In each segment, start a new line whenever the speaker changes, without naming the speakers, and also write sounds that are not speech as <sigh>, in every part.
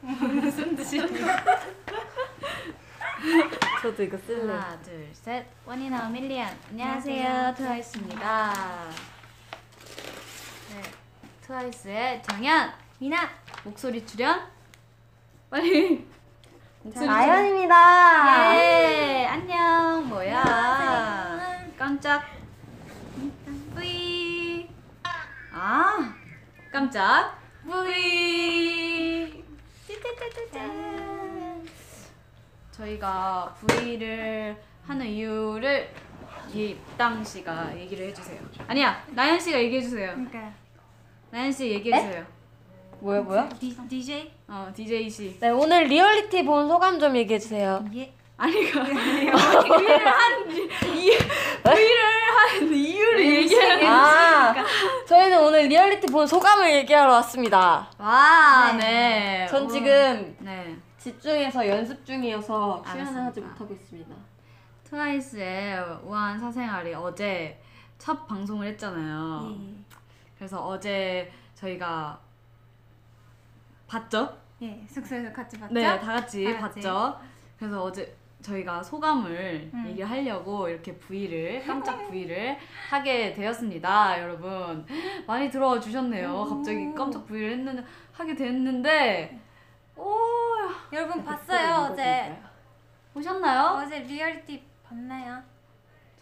무슨 뜻이야?
저도 이거 쓸래.
하나, 둘, 셋. 원이나와 밀리안. 안녕하세요. 트와이스입니다. 네. 트와이스의 정연, 미나 목소리 출연. 빨리. 목소리 출연.
아연입니다.
예. 안녕. 뭐야? 깜짝. 뿌이. 아. 깜짝. 뿌이. 짜자자자잔. 저희가 V를 하는 이유를 이땅 씨가 얘기를 해주세요. 아니야, 나연 씨가 얘기해주세요.
그러니까 네?
나연 씨 얘기해주세요.
뭐야 뭐야?
디, DJ
어, DJ 씨.
네 오늘 리얼리티 본 소감 좀 얘기해 주세요.
예
아니가 그
네.
<laughs> 어, V를 한 이- V를 한 이유를
네,
얘기해.
아 저희는 오늘 리얼리티 본 소감을 얘기하러 왔습니다.
와,
네.
네.
전
오.
지금
네
집중해서 연습 중이어서 출연을 하지
알았습니다.
못하고 있습니다.
트와이스의 우아한 사생활이 어제 첫 방송을 했잖아요.
예.
그래서 어제 저희가 봤죠?
예. 예 숙소에서 같이 봤죠?
네, 다 같이
다 같이.
봤죠. 그래서 어제 저희가 소감을
음.
얘기하려고 이렇게 V를 깜짝
<laughs>
V를 하게 되었습니다, 여러분. 많이 들어와 주셨네요. 갑자기
오.
깜짝 V를 했는 하게 됐는데 오 네,
여러분 봤어요 어제
보셨나요?
어제 리얼티 봤나요?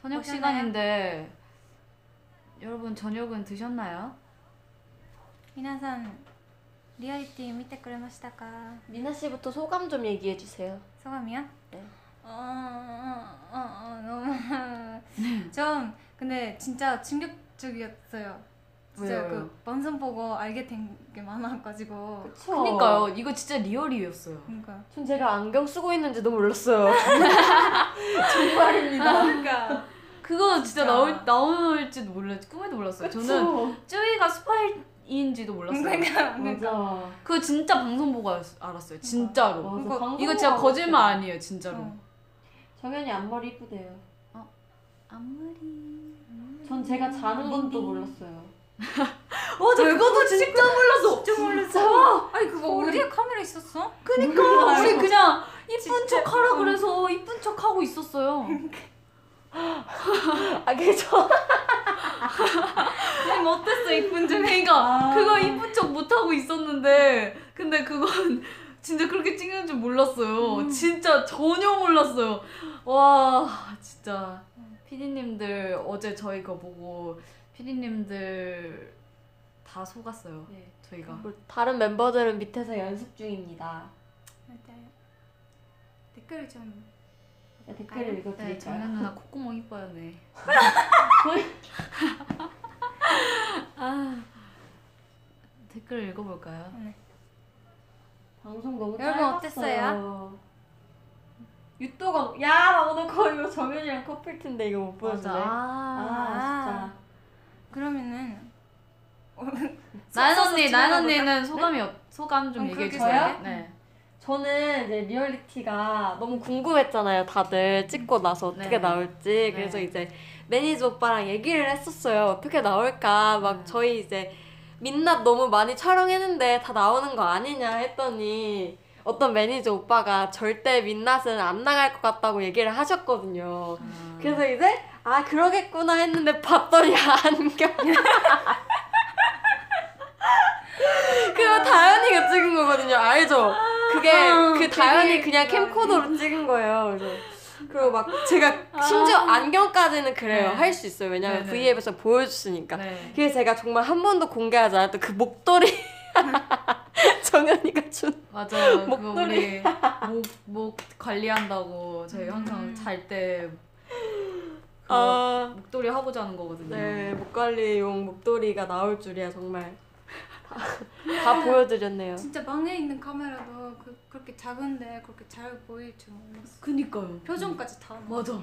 저녁
보셨나요?
시간인데 여러분 저녁은 드셨나요?
미나산 리얼티 밑에 그레마시다가
미나 씨부터 소감 좀 얘기해 주세요.
소감이요?
네.
어, 어, 어, 어, 너무 <laughs> 좀 근데 진짜 충격적이었어요. 진짜
왜요?
그 방송 보고 알게 된 게 많아가지고
그쵸?
그니까요. 이거 진짜 리얼이었어요. <laughs>
그러니까
전 제가 안경 쓰고 있는지도 몰랐어요. 정말입니다.
그러니까
그거 진짜,
진짜.
나올 나올지도 몰랐 꿈에도 몰랐어요. 저는 쯔위가 스파이인지도 몰랐어요.
그러니까 그러니까
맞아.
그거 진짜 방송 보고 알- 알았어요. 진짜로.
맞아.
이거-
방송
이거 진짜
보고
거짓말 아니에요, 진짜로.
어.
정연이 앞머리 이쁘대요.
앞머리.
전 제가 자는 것도 몰랐어요.
어, 저거도 진짜 몰랐어. 진짜 몰랐어.
아니 그거 뭐 우리 카메라 있었어?
그니까 우리 그냥 이쁜 척 하라 그래서 이쁜 척 하고 있었어요.
아, 그죠?
아니 뭐 어땠어 이쁜 척. 그러니까 그거 이쁜 척 못 하고 있었는데 근데 그건 <laughs> 진짜 그렇게 찍는 줄 몰랐어요. 진짜 전혀 몰랐어요. 와 진짜 피디님들 어제 저희 거 보고 피디님들 다 속았어요.
네.
저희가
다른 멤버들은 밑에서 연습 중입니다.
맞아요. 네, 댓글을 좀
댓글을
아,
네
읽어드릴까요?
정연 누나 콧구멍 <laughs> 이뻐요네. 아 댓글 읽어볼까요?
방송 너무
여러분
짧았어요.
어땠어요?
유도가 야, 나 오늘 거의 이거 정연이랑 커플인데 이거 못 보여주네. 아, 진짜.
그러면은
나연 언니,
지나가
나연 언니는 소감이 어, 소감 좀
음,
얘기해
그렇게
주세요.
네? 저요?
네.
저는 이제 리얼리티가 너무 궁금했잖아요. 다들 찍고 나서 어떻게
음. 네.
나올지. 그래서
네.
이제 매니저 오빠랑 얘기를 했었어요. 어떻게 나올까. 막
음.
저희 이제 민낯 너무 많이 촬영했는데 다 나오는 거 아니냐 했더니 어떤 매니저 오빠가 절대 민낯은 안 나갈 것 같다고 얘기를 하셨거든요. 음.
음.
그래서 이제 아 그러겠구나 했는데 봤더니 <laughs> 안경.
아.
그거 다현이가 찍은 거거든요. 알죠? 그게 그 다현이 그냥 캠코더로 찍은 거예요. 그래서 그리고 막 제가 심지어 안경까지는 그래요.
아. 네.
할 수 있어요. 왜냐면
네, 네.
V앱에서 보여줬으니까.
네.
그게 제가 정말 한 번도 공개하지 않았던 그 목도리 <laughs> 정현이가 준 <laughs>
맞아요. 그거 우리
목도리.
목, 목 관리한다고 저희 항상
음.
잘 때 어.
아,
목도리 하고 자는 거거든요.
네, 목관리용 목도리가 나올 줄이야 정말 다 보여드렸네요.
진짜 방에 있는 카메라도 그, 그렇게 작은데 그렇게 잘 보일 줄 몰랐어.
그니까요.
표정까지 다
맞아.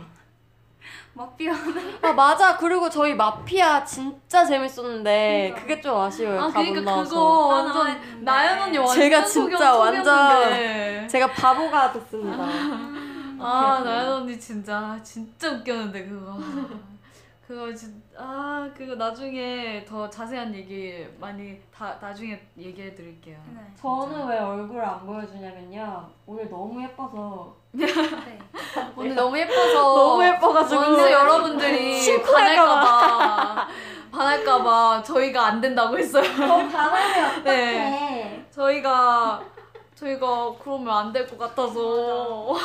맛비하는
아 맞아 그리고 저희 마피아 진짜 재밌었는데
그러니까.
그게좀 아쉬워요
아
다 못
그러니까
나와서 네.
그거
다
완전
나왔는데.
나연 언니 완전
제가
소경,
진짜 완전-
소경인데.
제가 바보가 됐습니다
아 나연 언니 진짜 진짜 웃겼는데 그거. 그 그거 진아 그거 나중에 더 자세한 얘기 많이 다 나중에 얘기해 드릴게요.
네.
저는 왜 얼굴을 안 보여주냐면요. 오늘 너무 예뻐서.
네.
오늘 너무 예뻐서 너무
예뻐가지고.
원수 여러분들이 반할까봐 반할까봐 저희가 안 된다고 했어요.
더 반하면 어떡해.
<laughs> 네. 저희가 저희가 그러면 안 될 것 같아서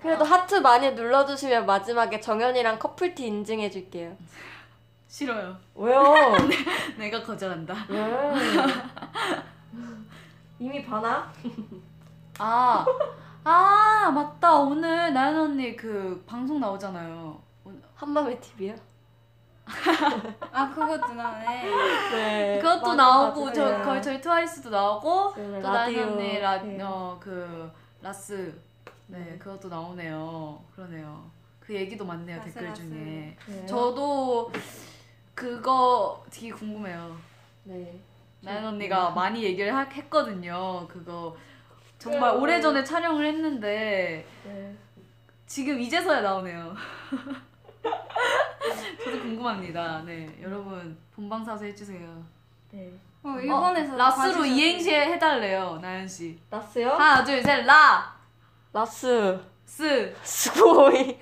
그래도 하트 많이 눌러주시면 마지막에 정연이랑 커플티 인증해줄게요.
싫어요.
왜요?
내가 거절한다.
네. <laughs> 이미 반함?
아, 아 맞다. 오늘 나연 언니 그 방송 나오잖아요. 오늘-
한밤의 TV요?
아 그거 누나네.
네.
그것도
많이
나오고
봐주세요.
저 거의 저희 트와이스도 나오고
네,
또
라디오.
나연 언니 라,
네.
어, 그 라스 네
네.
그것도 나오네요. 그러네요. 그 얘기도 많네요
라스,
댓글
라스.
중에.
네.
저도 그거 되게 궁금해요.
네.
나연 언니가 많이 얘기를 하- 했거든요. 그거 정말
네.
오래전에 촬영을 했는데
네.
지금 이제서야 나오네요. <laughs> 저도 궁금합니다. 네, 여러분 본방 사수 해주세요.
네.
어 일본에서
라스로
봐주셨-
이행시에 해달래요, 나연 씨.
라스요?
하나, 둘, 셋, 라,
라스.
스. <laughs>
스고이.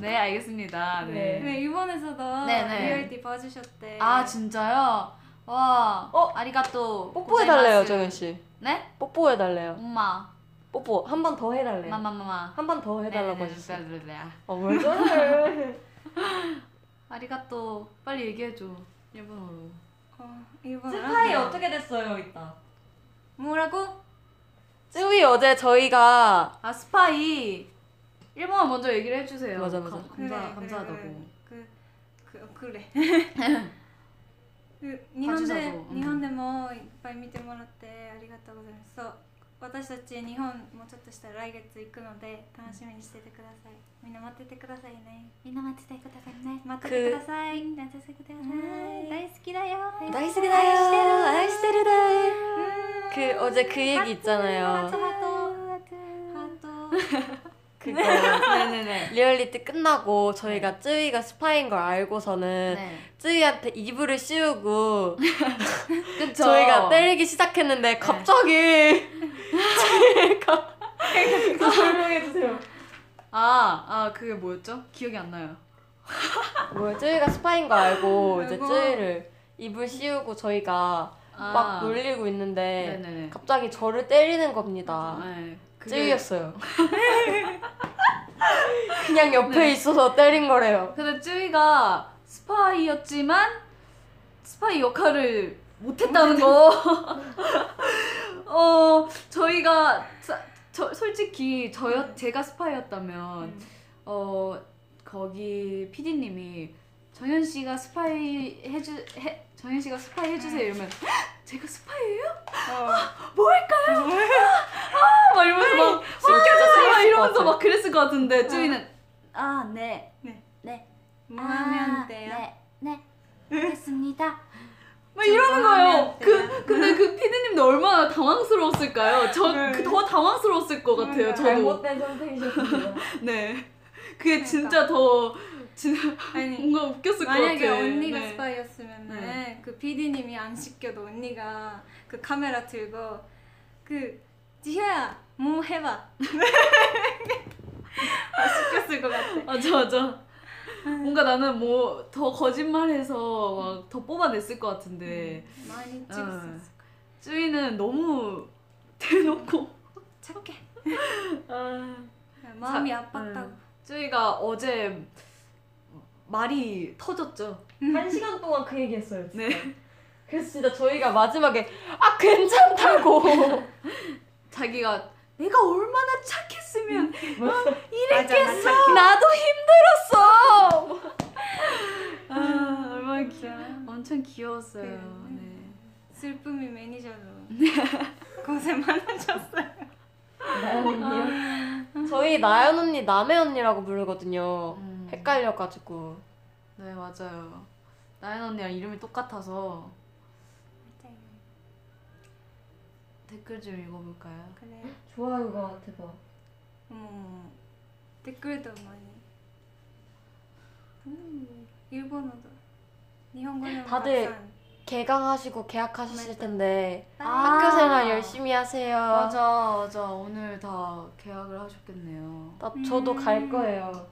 네, 알겠습니다. 네.
네 일본에서도
네, 네.
reality 봐주셨대.
아 진짜요? 와.
네. 어?
아리가또.
뽀뽀해달래요,
고자이마스.
정연 씨.
네?
뽀뽀해달래요.
엄마,
뽀뽀 한 번 더 해달래요.
마마마마.
한 번 더 네. 해달라고
네네네,
하셨어요.
네네네.
어왜 그래?
아리가또 빨리 얘기해줘 <laughs> 일본어로
어, 일본어.
스파이 어떻게 됐어요, 이따?
뭐라고?
쯔위 어제 저희가
아 스파이 일본어 먼저 얘기를 해주세요
맞아, 맞아.
감, 감사,
그래, 그래,
감사하다고
그래. 그, 그, <laughs> 그래. 그
봐주셔서,
日本で
음.
日本でもいっぱい見てもらってありがとうございます。そう私たち日本もうちょっとしたら来月行くので楽しみにしててください。みんな待っててくださいね。みんな待っててくださいね。待っててください。待っててください。大好きだよ。
나이스테르다. 그 어제 그 얘기 있잖아요.
하트 하트 하트 하트.
그거
네네네
리얼리티 끝나고 저희가 쯔위가 스파인 걸 알고서는 <laughs>
네
쯔위한테 이불을 씌우고
그쵸
저희가 때리기 시작했는데 갑자기 <laughs> 쯔위가 설명해 주세요.
아아 그게 뭐였죠? 기억이 안 나요
뭐야 쯔위가 스파인 걸 알고 이제
아이고.
쯔위를 이불 씌우고 저희가
아,
막 놀리고 있는데
네네네
갑자기 저를 때리는 겁니다.
네, 그게-
쯔위였어요. 그냥 옆에 있어서 때린 거래요.
근데 쯔위가 스파이였지만 스파이 역할을 못했다는 거. <laughs> 어 저희가 사- 저, 솔직히 저였 제가
<laughs>
스파이였다면 어 거기 PD님이 정현 씨가 스파이 해주 해 정현 씨가 스파이 해주세요 이러면 제가 스파이예요? 뭘까요? 아, 막 이러면서 막 숨겨주세요 막 이러면서 막 그랬을 것 같은데 쯔위는 아 네.
뭐 하면 돼요?
네, 네. 했습니다.
막 이러는 거예요.
하면
그 근데 그 피디님도 얼마나 당황스러웠을까요? 저그
네.
더 당황스러웠을 것 같아요.
네,
저도
선택이셨습니다.
네 그게 진짜 더 진짜
아니
뭔가 웃겼을 것 같아요.
그러니까. 만약에 언니가
네.
스파이였으면
네.
은그 PD님이 안 시켜도 언니가 그 카메라 들고 그 지효야 뭐
<laughs>
해봐 아, 시켰을 것 같아
맞아 맞아.
네.
뭔가 나는 뭐 더 거짓말해서 막 더 뽑아냈을 것 같은데
음. 많이
어.
찍었어
쯔위는 너무 <laughs> 대놓고
착해
아.
마음이
자,
아팠다고
음. 쯔위가 어제 말이 터졌죠.
한 시간 동안 그 얘기했어요.
네.
그래서 진짜 저희가 마지막에 아 괜찮다고
자기가 내가 얼마나 착했으면
이랬겠어
그
나도 힘들었어.
아, 얼마나 귀
진짜
엄청 귀여웠어요.
네.
네.
슬픔이
<laughs>
매니저로 고생 많으셨어요
나연 언니요. 저희 나연 언니 남의 언니라고 부르거든요.
음.
헷갈려가지고
네 맞아요. 네. 나연 언니랑 이름이 똑같아서 댓글 좀 읽어볼까요?
그래
좋아요가 대박.
어머머머 댓글도 많이 음, 일본어도 일본어도
다들
박산.
개강하시고 계약하셨을 텐데
아.
학교 생활 열심히 하세요.
맞아 맞아 오늘 다 계약을 하셨겠네요.
나 저도
음.
갈 거예요.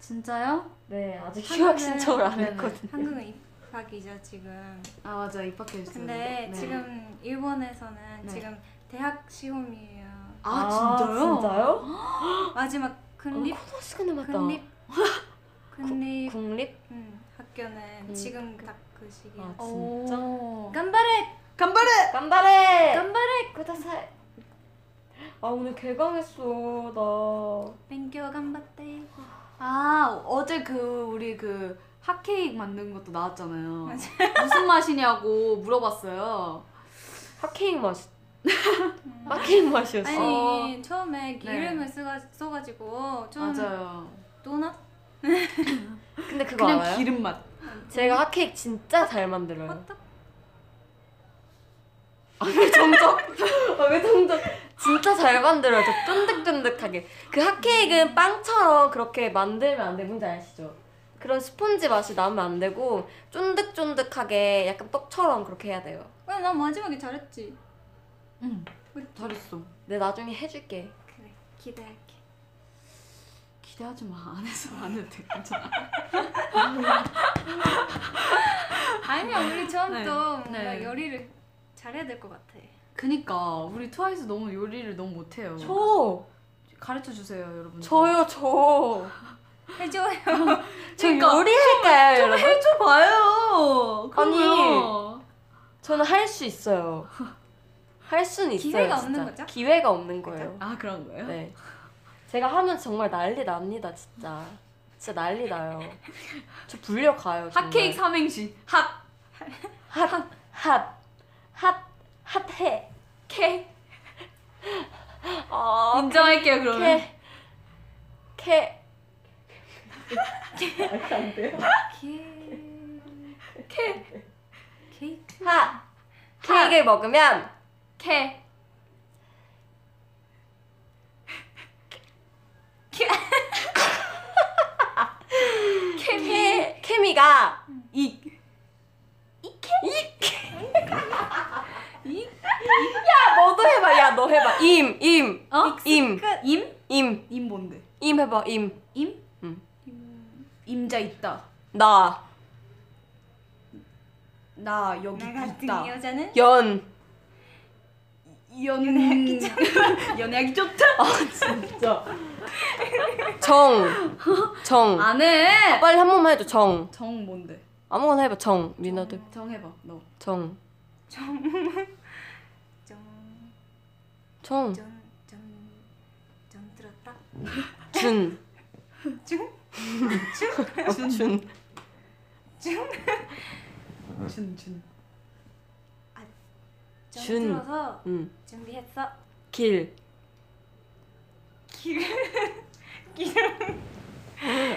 진짜요?
네 아직
한국에-
휴학 신청을 안
네네.
했거든요.
한국은 입학이죠 지금
아 맞아 입학했어요.
근데
네.
지금 일본에서는
네.
지금 대학 시험이에요
아 진짜요? 음.
진짜요?
마지막
언니
군립
어, 코너스간에 맞다.
군립 군립
국립?
음, 학교는
음.
지금 딱 그 시기야 어.
아, 진짜?
오.
간바레
간발의
간발해.
간바레
구다사이. 아 오늘 개강했어 나.
勉強 간바떼
아 어제 그 우리 그 핫케이크 만든 것도 나왔잖아요.
맞아.
무슨 맛이냐고 물어봤어요.
핫케이크
<laughs>
맛.
음.
핫케이크 맛이었어.
아니 처음에
네.
기름을 쓰가, 써가지고 좀
맞아요.
도넛
근데 그거
그냥
알아요?
기름 맛.
제가 핫케이크 진짜 잘 만들어요.
호떡
정적. <laughs> 아왜 정적? 진짜 잘 만들어요. 저 쫀득쫀득하게. 그 핫케이크는 빵처럼 그렇게 만들면 안 돼. 뭔지 아시죠? 그런 스펀지 맛이 나면 안 되고 쫀득쫀득하게 약간 떡처럼 그렇게 해야 돼요.
왜 나 마지막에 잘했지
응
그치?
잘했어.
내 나중에 해줄게.
그래 기대할게
기대하지 마. 안 해서 안 해도 돼. 괜찮아.
아니야 우리
네.
처음부터 뭔가
네.
요리를 잘해야 될 것 같아
그니까 우리 트와이스 너무 요리를 너무 못해요.
저
가르쳐 주세요, 여러분.
저요 저.
해줘요
저
그러니까
요리할까요, 여러분?
<laughs> 해줘 봐요.
그럼요. 저는 할 수 있어요. 할 수는 있어요.
기회가
진짜.
없는 거죠?
기회가 없는 거예요.
아 그런 거예요?
네. 제가 하면 정말 난리 납니다, 진짜. 진짜 난리 나요. 저 불려가요. 정말.
핫케이크 삼행시 핫
핫, 핫, 핫, 핫해. 케.
아.
어,
인정할게요 그러면.
케. 케.
기...
케
케이크
핫. 케이크를 먹으면
케.
케, 케미가
이
야, 너도 해봐. 야, 너 해봐. 임, 임,
어?
임,
임?
임,
임 뭔데?
임 해봐. 임,
임?
음,
임자 있다.
나,
<laughs> 나 여기
나 같은
있다.
여자는
연.
연 연애하기 좋다. <laughs> 연애하기 좋다. 아,
정. 정.
안 해.
빨리 한 번만 해줘. 정.
정 뭔데?
아무거나 해봐. 정. 미나도.
정 해봐 너.
정.
좀...
정.
좀... 좀... 좀 들었다
준.
중?
<laughs>
어, 준.
준 준.
좀
준.
들어서
음.
준비했어
길. <laughs>
길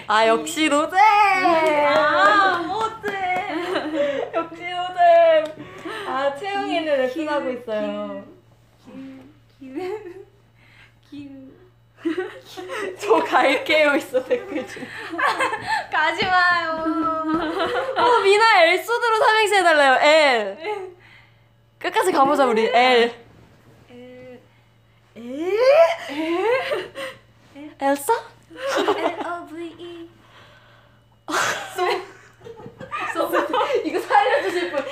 아 역시 노잼. <laughs>
아, 못해.
역시 노잼. 아 채용이는 레슨하고 있어요.
길, 길, 길.
저 갈게요 있어 댓글 중.
가지 마요.
어 미나 엘소드로 삼행시 해달래요. 엘. 끝까지 가보자 우리 엘.
엘,
엘사?
L O V E.
<laughs>
이거 살려주실 분. 야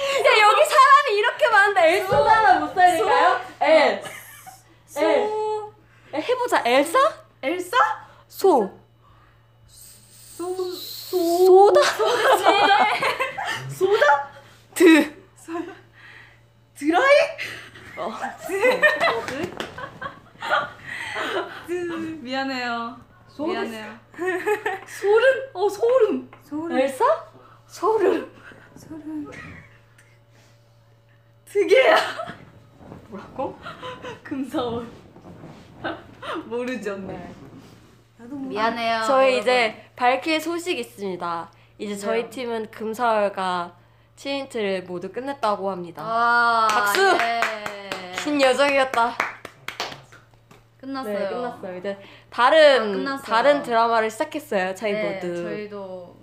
여기 사람이 이렇게 많은데 엘소드 하나 못 살릴까요? 엘. 엘.
소,
에, 해보자 엘사
엘사?
소
소
소다 <laughs>
소다?
드
드라이?
어.
<laughs> 미안해요.
소름.
미안해요. 소름? 어 소름.
소름,
엘사 소름
소름.
<laughs> 득이야.
뭐라고
<laughs> 금사월. <laughs> 모르지 언니.
나도 몰라.
네. 미안해요.
아, 저희 이제 밝힐 소식 있습니다 이제 저희
뭐요?
팀은 금사월과 치인트를 모두 끝냈다고 합니다
아,
박수!
예.
신여정이었다.
끝났어요.
네, 끝났어요. 이제 다른
아, 끝났어요.
다른 드라마를 시작했어요. 저희
네,
모두.
저희도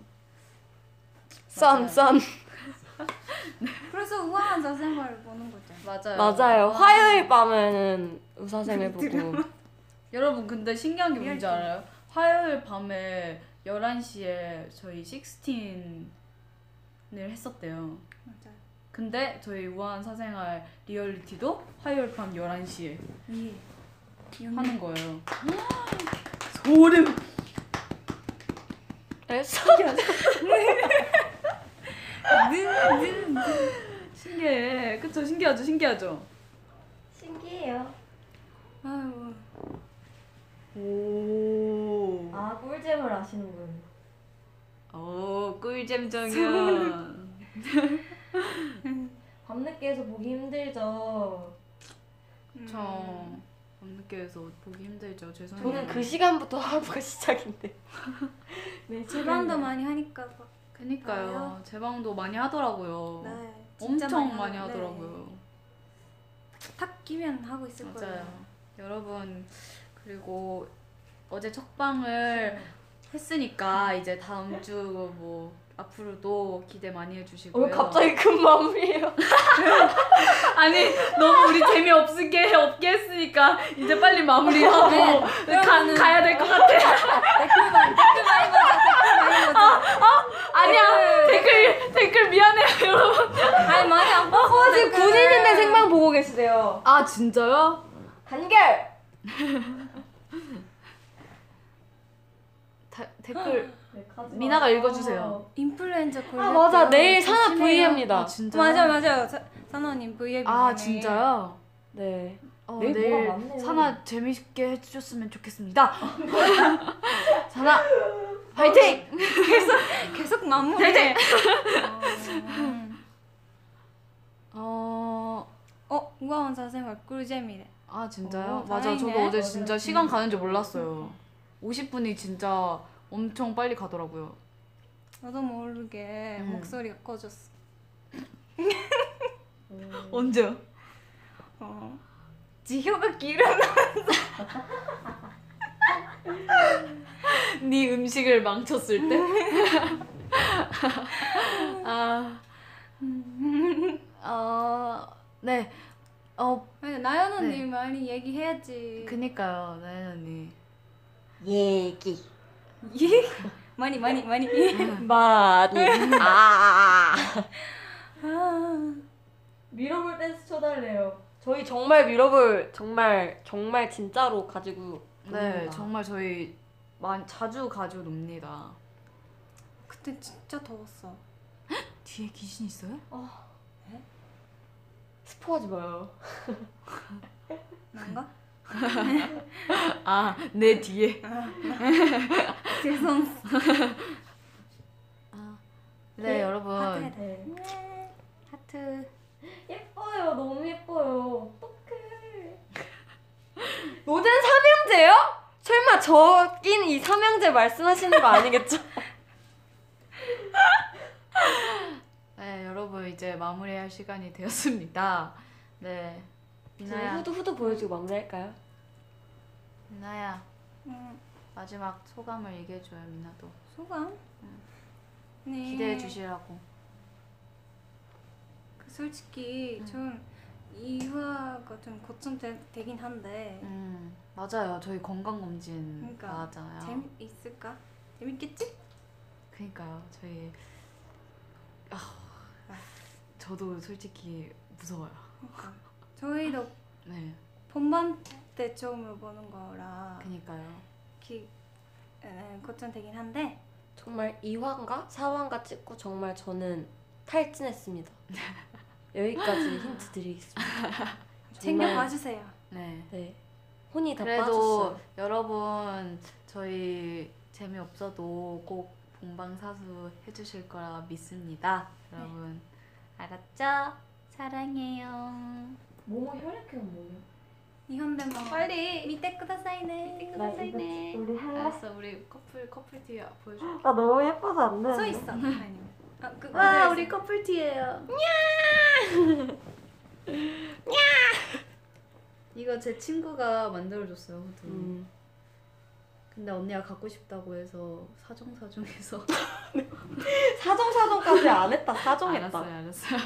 썬
맞아요.
썬.
그래서 우아한 자생과를 보는 거죠.
맞아요.
맞아요.
아.
화요일 밤에는 우사생을 보고
여러분 근데 신기한 게 뭔지
리얼티.
알아요? 화요일 밤에 11시에 저희 16을 했었대요.
맞아요.
근데 저희 우아한 사생활 리얼리티도 화요일 밤 11시에
예.
하는 거예요. 음, 소름! <laughs>
네, 썬.
음, 신기해. 그쵸? 신기하죠? 신기하죠?
신기해요.
아유.
오.
아 꿀잼을 아시는군.
오, 꿀잼 정연.
밤늦게 해서 보기 힘들죠.
음.
저 밤늦게 해서 보기 힘들죠. 죄송해요.
저는 그 시간부터 하루가 시작인데. 네,
집안도 많이 하니까 막.
그니까요.
봐요?
제방도 많이 하더라고요.
네. 진짜
엄청 많이
하는데
하더라고요.
탁 끼면 하고 있을 거예요.
맞아요. 여러분 그리고 어제 첫방을 했으니까 이제 다음 주 뭐 앞으로도 기대 많이 해주시고요.
왜 어, 갑자기 큰
<laughs>
마음이에요?
아니 너무 우리 재미 없게 없게 했으니까 이제 빨리 마무리하고 가,
그러면은-
가야 될 것 같아.
댓글 많이 댓글
아,
많이 보자. 댓글 많이
어,
보자.
아니야 댓글 댓글 미안해요 여러분.
아니 많이 안 보고
네.
지금 군인인데 생방 보고 계시대요.
아 진짜요?
단결.
다, 댓글
네, 가지
미나가
마요.
읽어주세요.
인플루엔자 걸렸.
아 맞아 내일 산업
아
V입니다.
진짜.
맞아 맞아요. 사- 산호님 V앱.
아 진짜요?
네.
어,
내일
내일,
뭐가 많네요.
사나 재밌게 해주셨으면 좋겠습니다. <laughs> 사나 파이팅!
<laughs> 계속 <laughs> 마무리해. 음.
어,
어 우아원 자생활 꿀잼이래.
아 진짜요?
오,
맞아, 저도
다행이네.
어제 진짜 시간 가는 줄 몰랐어요. 50분이 진짜 엄청 빨리 가더라고요.
나도 모르게
음.
목소리가 꺼졌어.
언제요?
어.
지효가 길어나. <laughs> 네 음식을 망쳤을 때. <laughs> 아, 음. <laughs> 어, 네, 어,
아니, 나연 언니
네.
많이 얘기해야지. <laughs>
그니까요, 나연 언니.
얘기.
예? 많이 많이 많이.
많이. 아.
<laughs> 아.
밀어볼 댄스 쳐달래요.
저희 정말 밀어볼 정말 정말 진짜로 가지고.
네,
놉니다.
정말 저희 많 자주 가져 놉니다.
그때 진짜 더웠어.
뒤에 귀신 있어요?
스포하지 마요.
<laughs>
난가?
아, 내 뒤에.
죄송.
네, 여러분.
하트.
네.
아, 하트.
예뻐요. 너무 예뻐요. 어떡해.
노젠 삼형제요? 설마 저긴 이 삼형제 말씀하시는 거 <laughs> 아니겠죠?
네, 여러분 이제 마무리할 시간이 되었습니다. 네.
저희
미나야.
후드 후드 보여주고 마무리할까요?
미나야.
음,
마지막 소감을 얘기해 줘요, 미나도.
소감? 음. 네.
기대해 주시라고.
그 솔직히
음.
좀 이화가 좀 고점되긴 한데
음. 맞아요. 저희 건강 검진
네. 그러니까,
나왔잖아요.
재밌을까? 재밌겠지?
그러니까요. 저희 아, 저도 솔직히 무서워요.
그러니까. 저희도
네.
본반 때 처음으로 보는 거라
그러니까요.
기, 음, 고점되긴 한데
정말 2화인가 4화인가 찍고 정말 저는 탈진했습니다. <laughs> 여기까지 힌트 드리겠습니다.
챙겨
정말-
봐주세요.
네.
네. 혼이 다
그래도
빠졌어요.
여러분 저희 재미없어도 꼭 본방사수 해주실 거라 믿습니다. 여러분 알았죠?
사랑해요.
뭐 혈액형 뭐예요?
이현대만 빨리 밑에 쿠다사이네.
나 이거 우리 할래?
알았어 우리 커플 커플 티 보여줘.
나 아, 너무 예뻐서 안
써 있어.
음.
아니면. 아, 그,
와
그대로
우리 <laughs>
있어.
커플 티예요. 이거 제 친구가 만들어줬어요 호두.
음.
근데 언니가 갖고 싶다고 해서 사정사정해서
사정 사정까지 안 했다. 사정했다.
알았어요.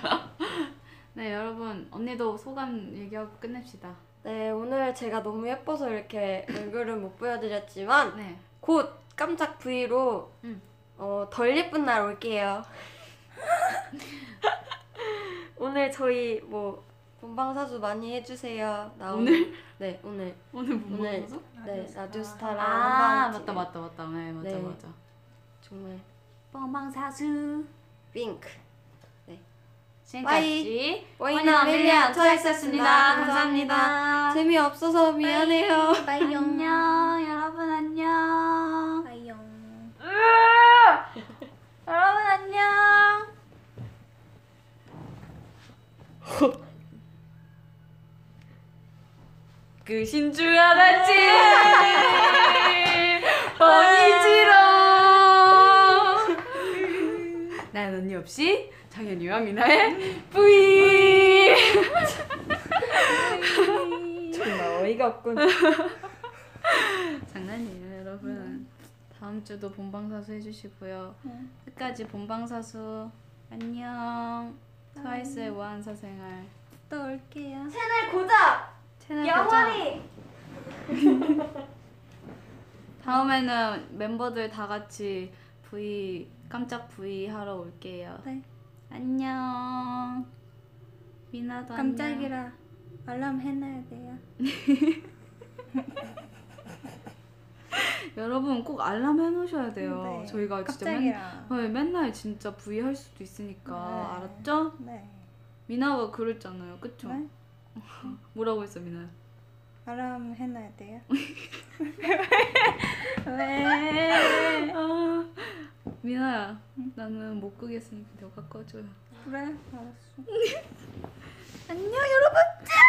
<laughs> 네 여러분 언니도 소감 얘기하고 끝냅시다.
네 오늘 제가 너무 예뻐서 이렇게 얼굴을 못 보여드렸지만
네.
곧 깜짝 브이로
음.
어, 덜 예쁜 날 올게요. <laughs> 오늘 저희 뭐 본방사수 많이 해주세요. 나
오늘
네 오늘
오늘 뭐
오늘
먹었어?
네 라디오스타랑
아
한방
맞다 맞다 맞다. 네 맞다
네.
맞다.
정말
뻔방사수
윙크. 네.
지금까지
와인 아멜리아 안차있었습니다 감사합니다. 재미없어서 미안해요.
안녕 여러분 안녕.
바이용
여러분 안녕. 끝인 줄 알았지. 네. <laughs> 뻔히지롱. 난 언니 없이 장현이와 미나의 V.
정말 뭐 어이가 없군.
장난이에요 여러분. 다음 주도 본방사수 해주시고요. 끝까지 본방사수 안녕. 트와이스의 우한사 생활
또 올게요 네,
채널 고작
채널 고정.
영원히
다음에는 멤버들 다 같이 V 깜짝 V 하러 올게요.
네.
안녕. 미나도 안녕.
깜짝이라 알람 해놔야 돼요
여러분 꼭 알람 해놓으셔야 돼요.
네.
저희가 진짜 맨,
깜짝이라
네, 맨날 진짜 V 할 수도 있으니까
네.
알았죠?
네
미나가 그랬잖아요. 그쵸?
네?
뭐라고 했어 미나?
알람 해놔야
<laughs>
돼요 네.
왜? 아, 미나야 나는 못 끄겠으니까 너가 꺼줘요.
그래 알았어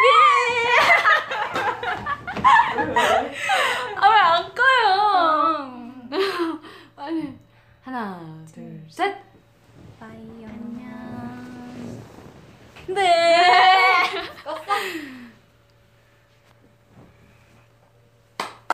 예! <laughs> 아 왜 안 꺼요? 빨리 하나 둘 셋.
네, 바이용 안녕
네.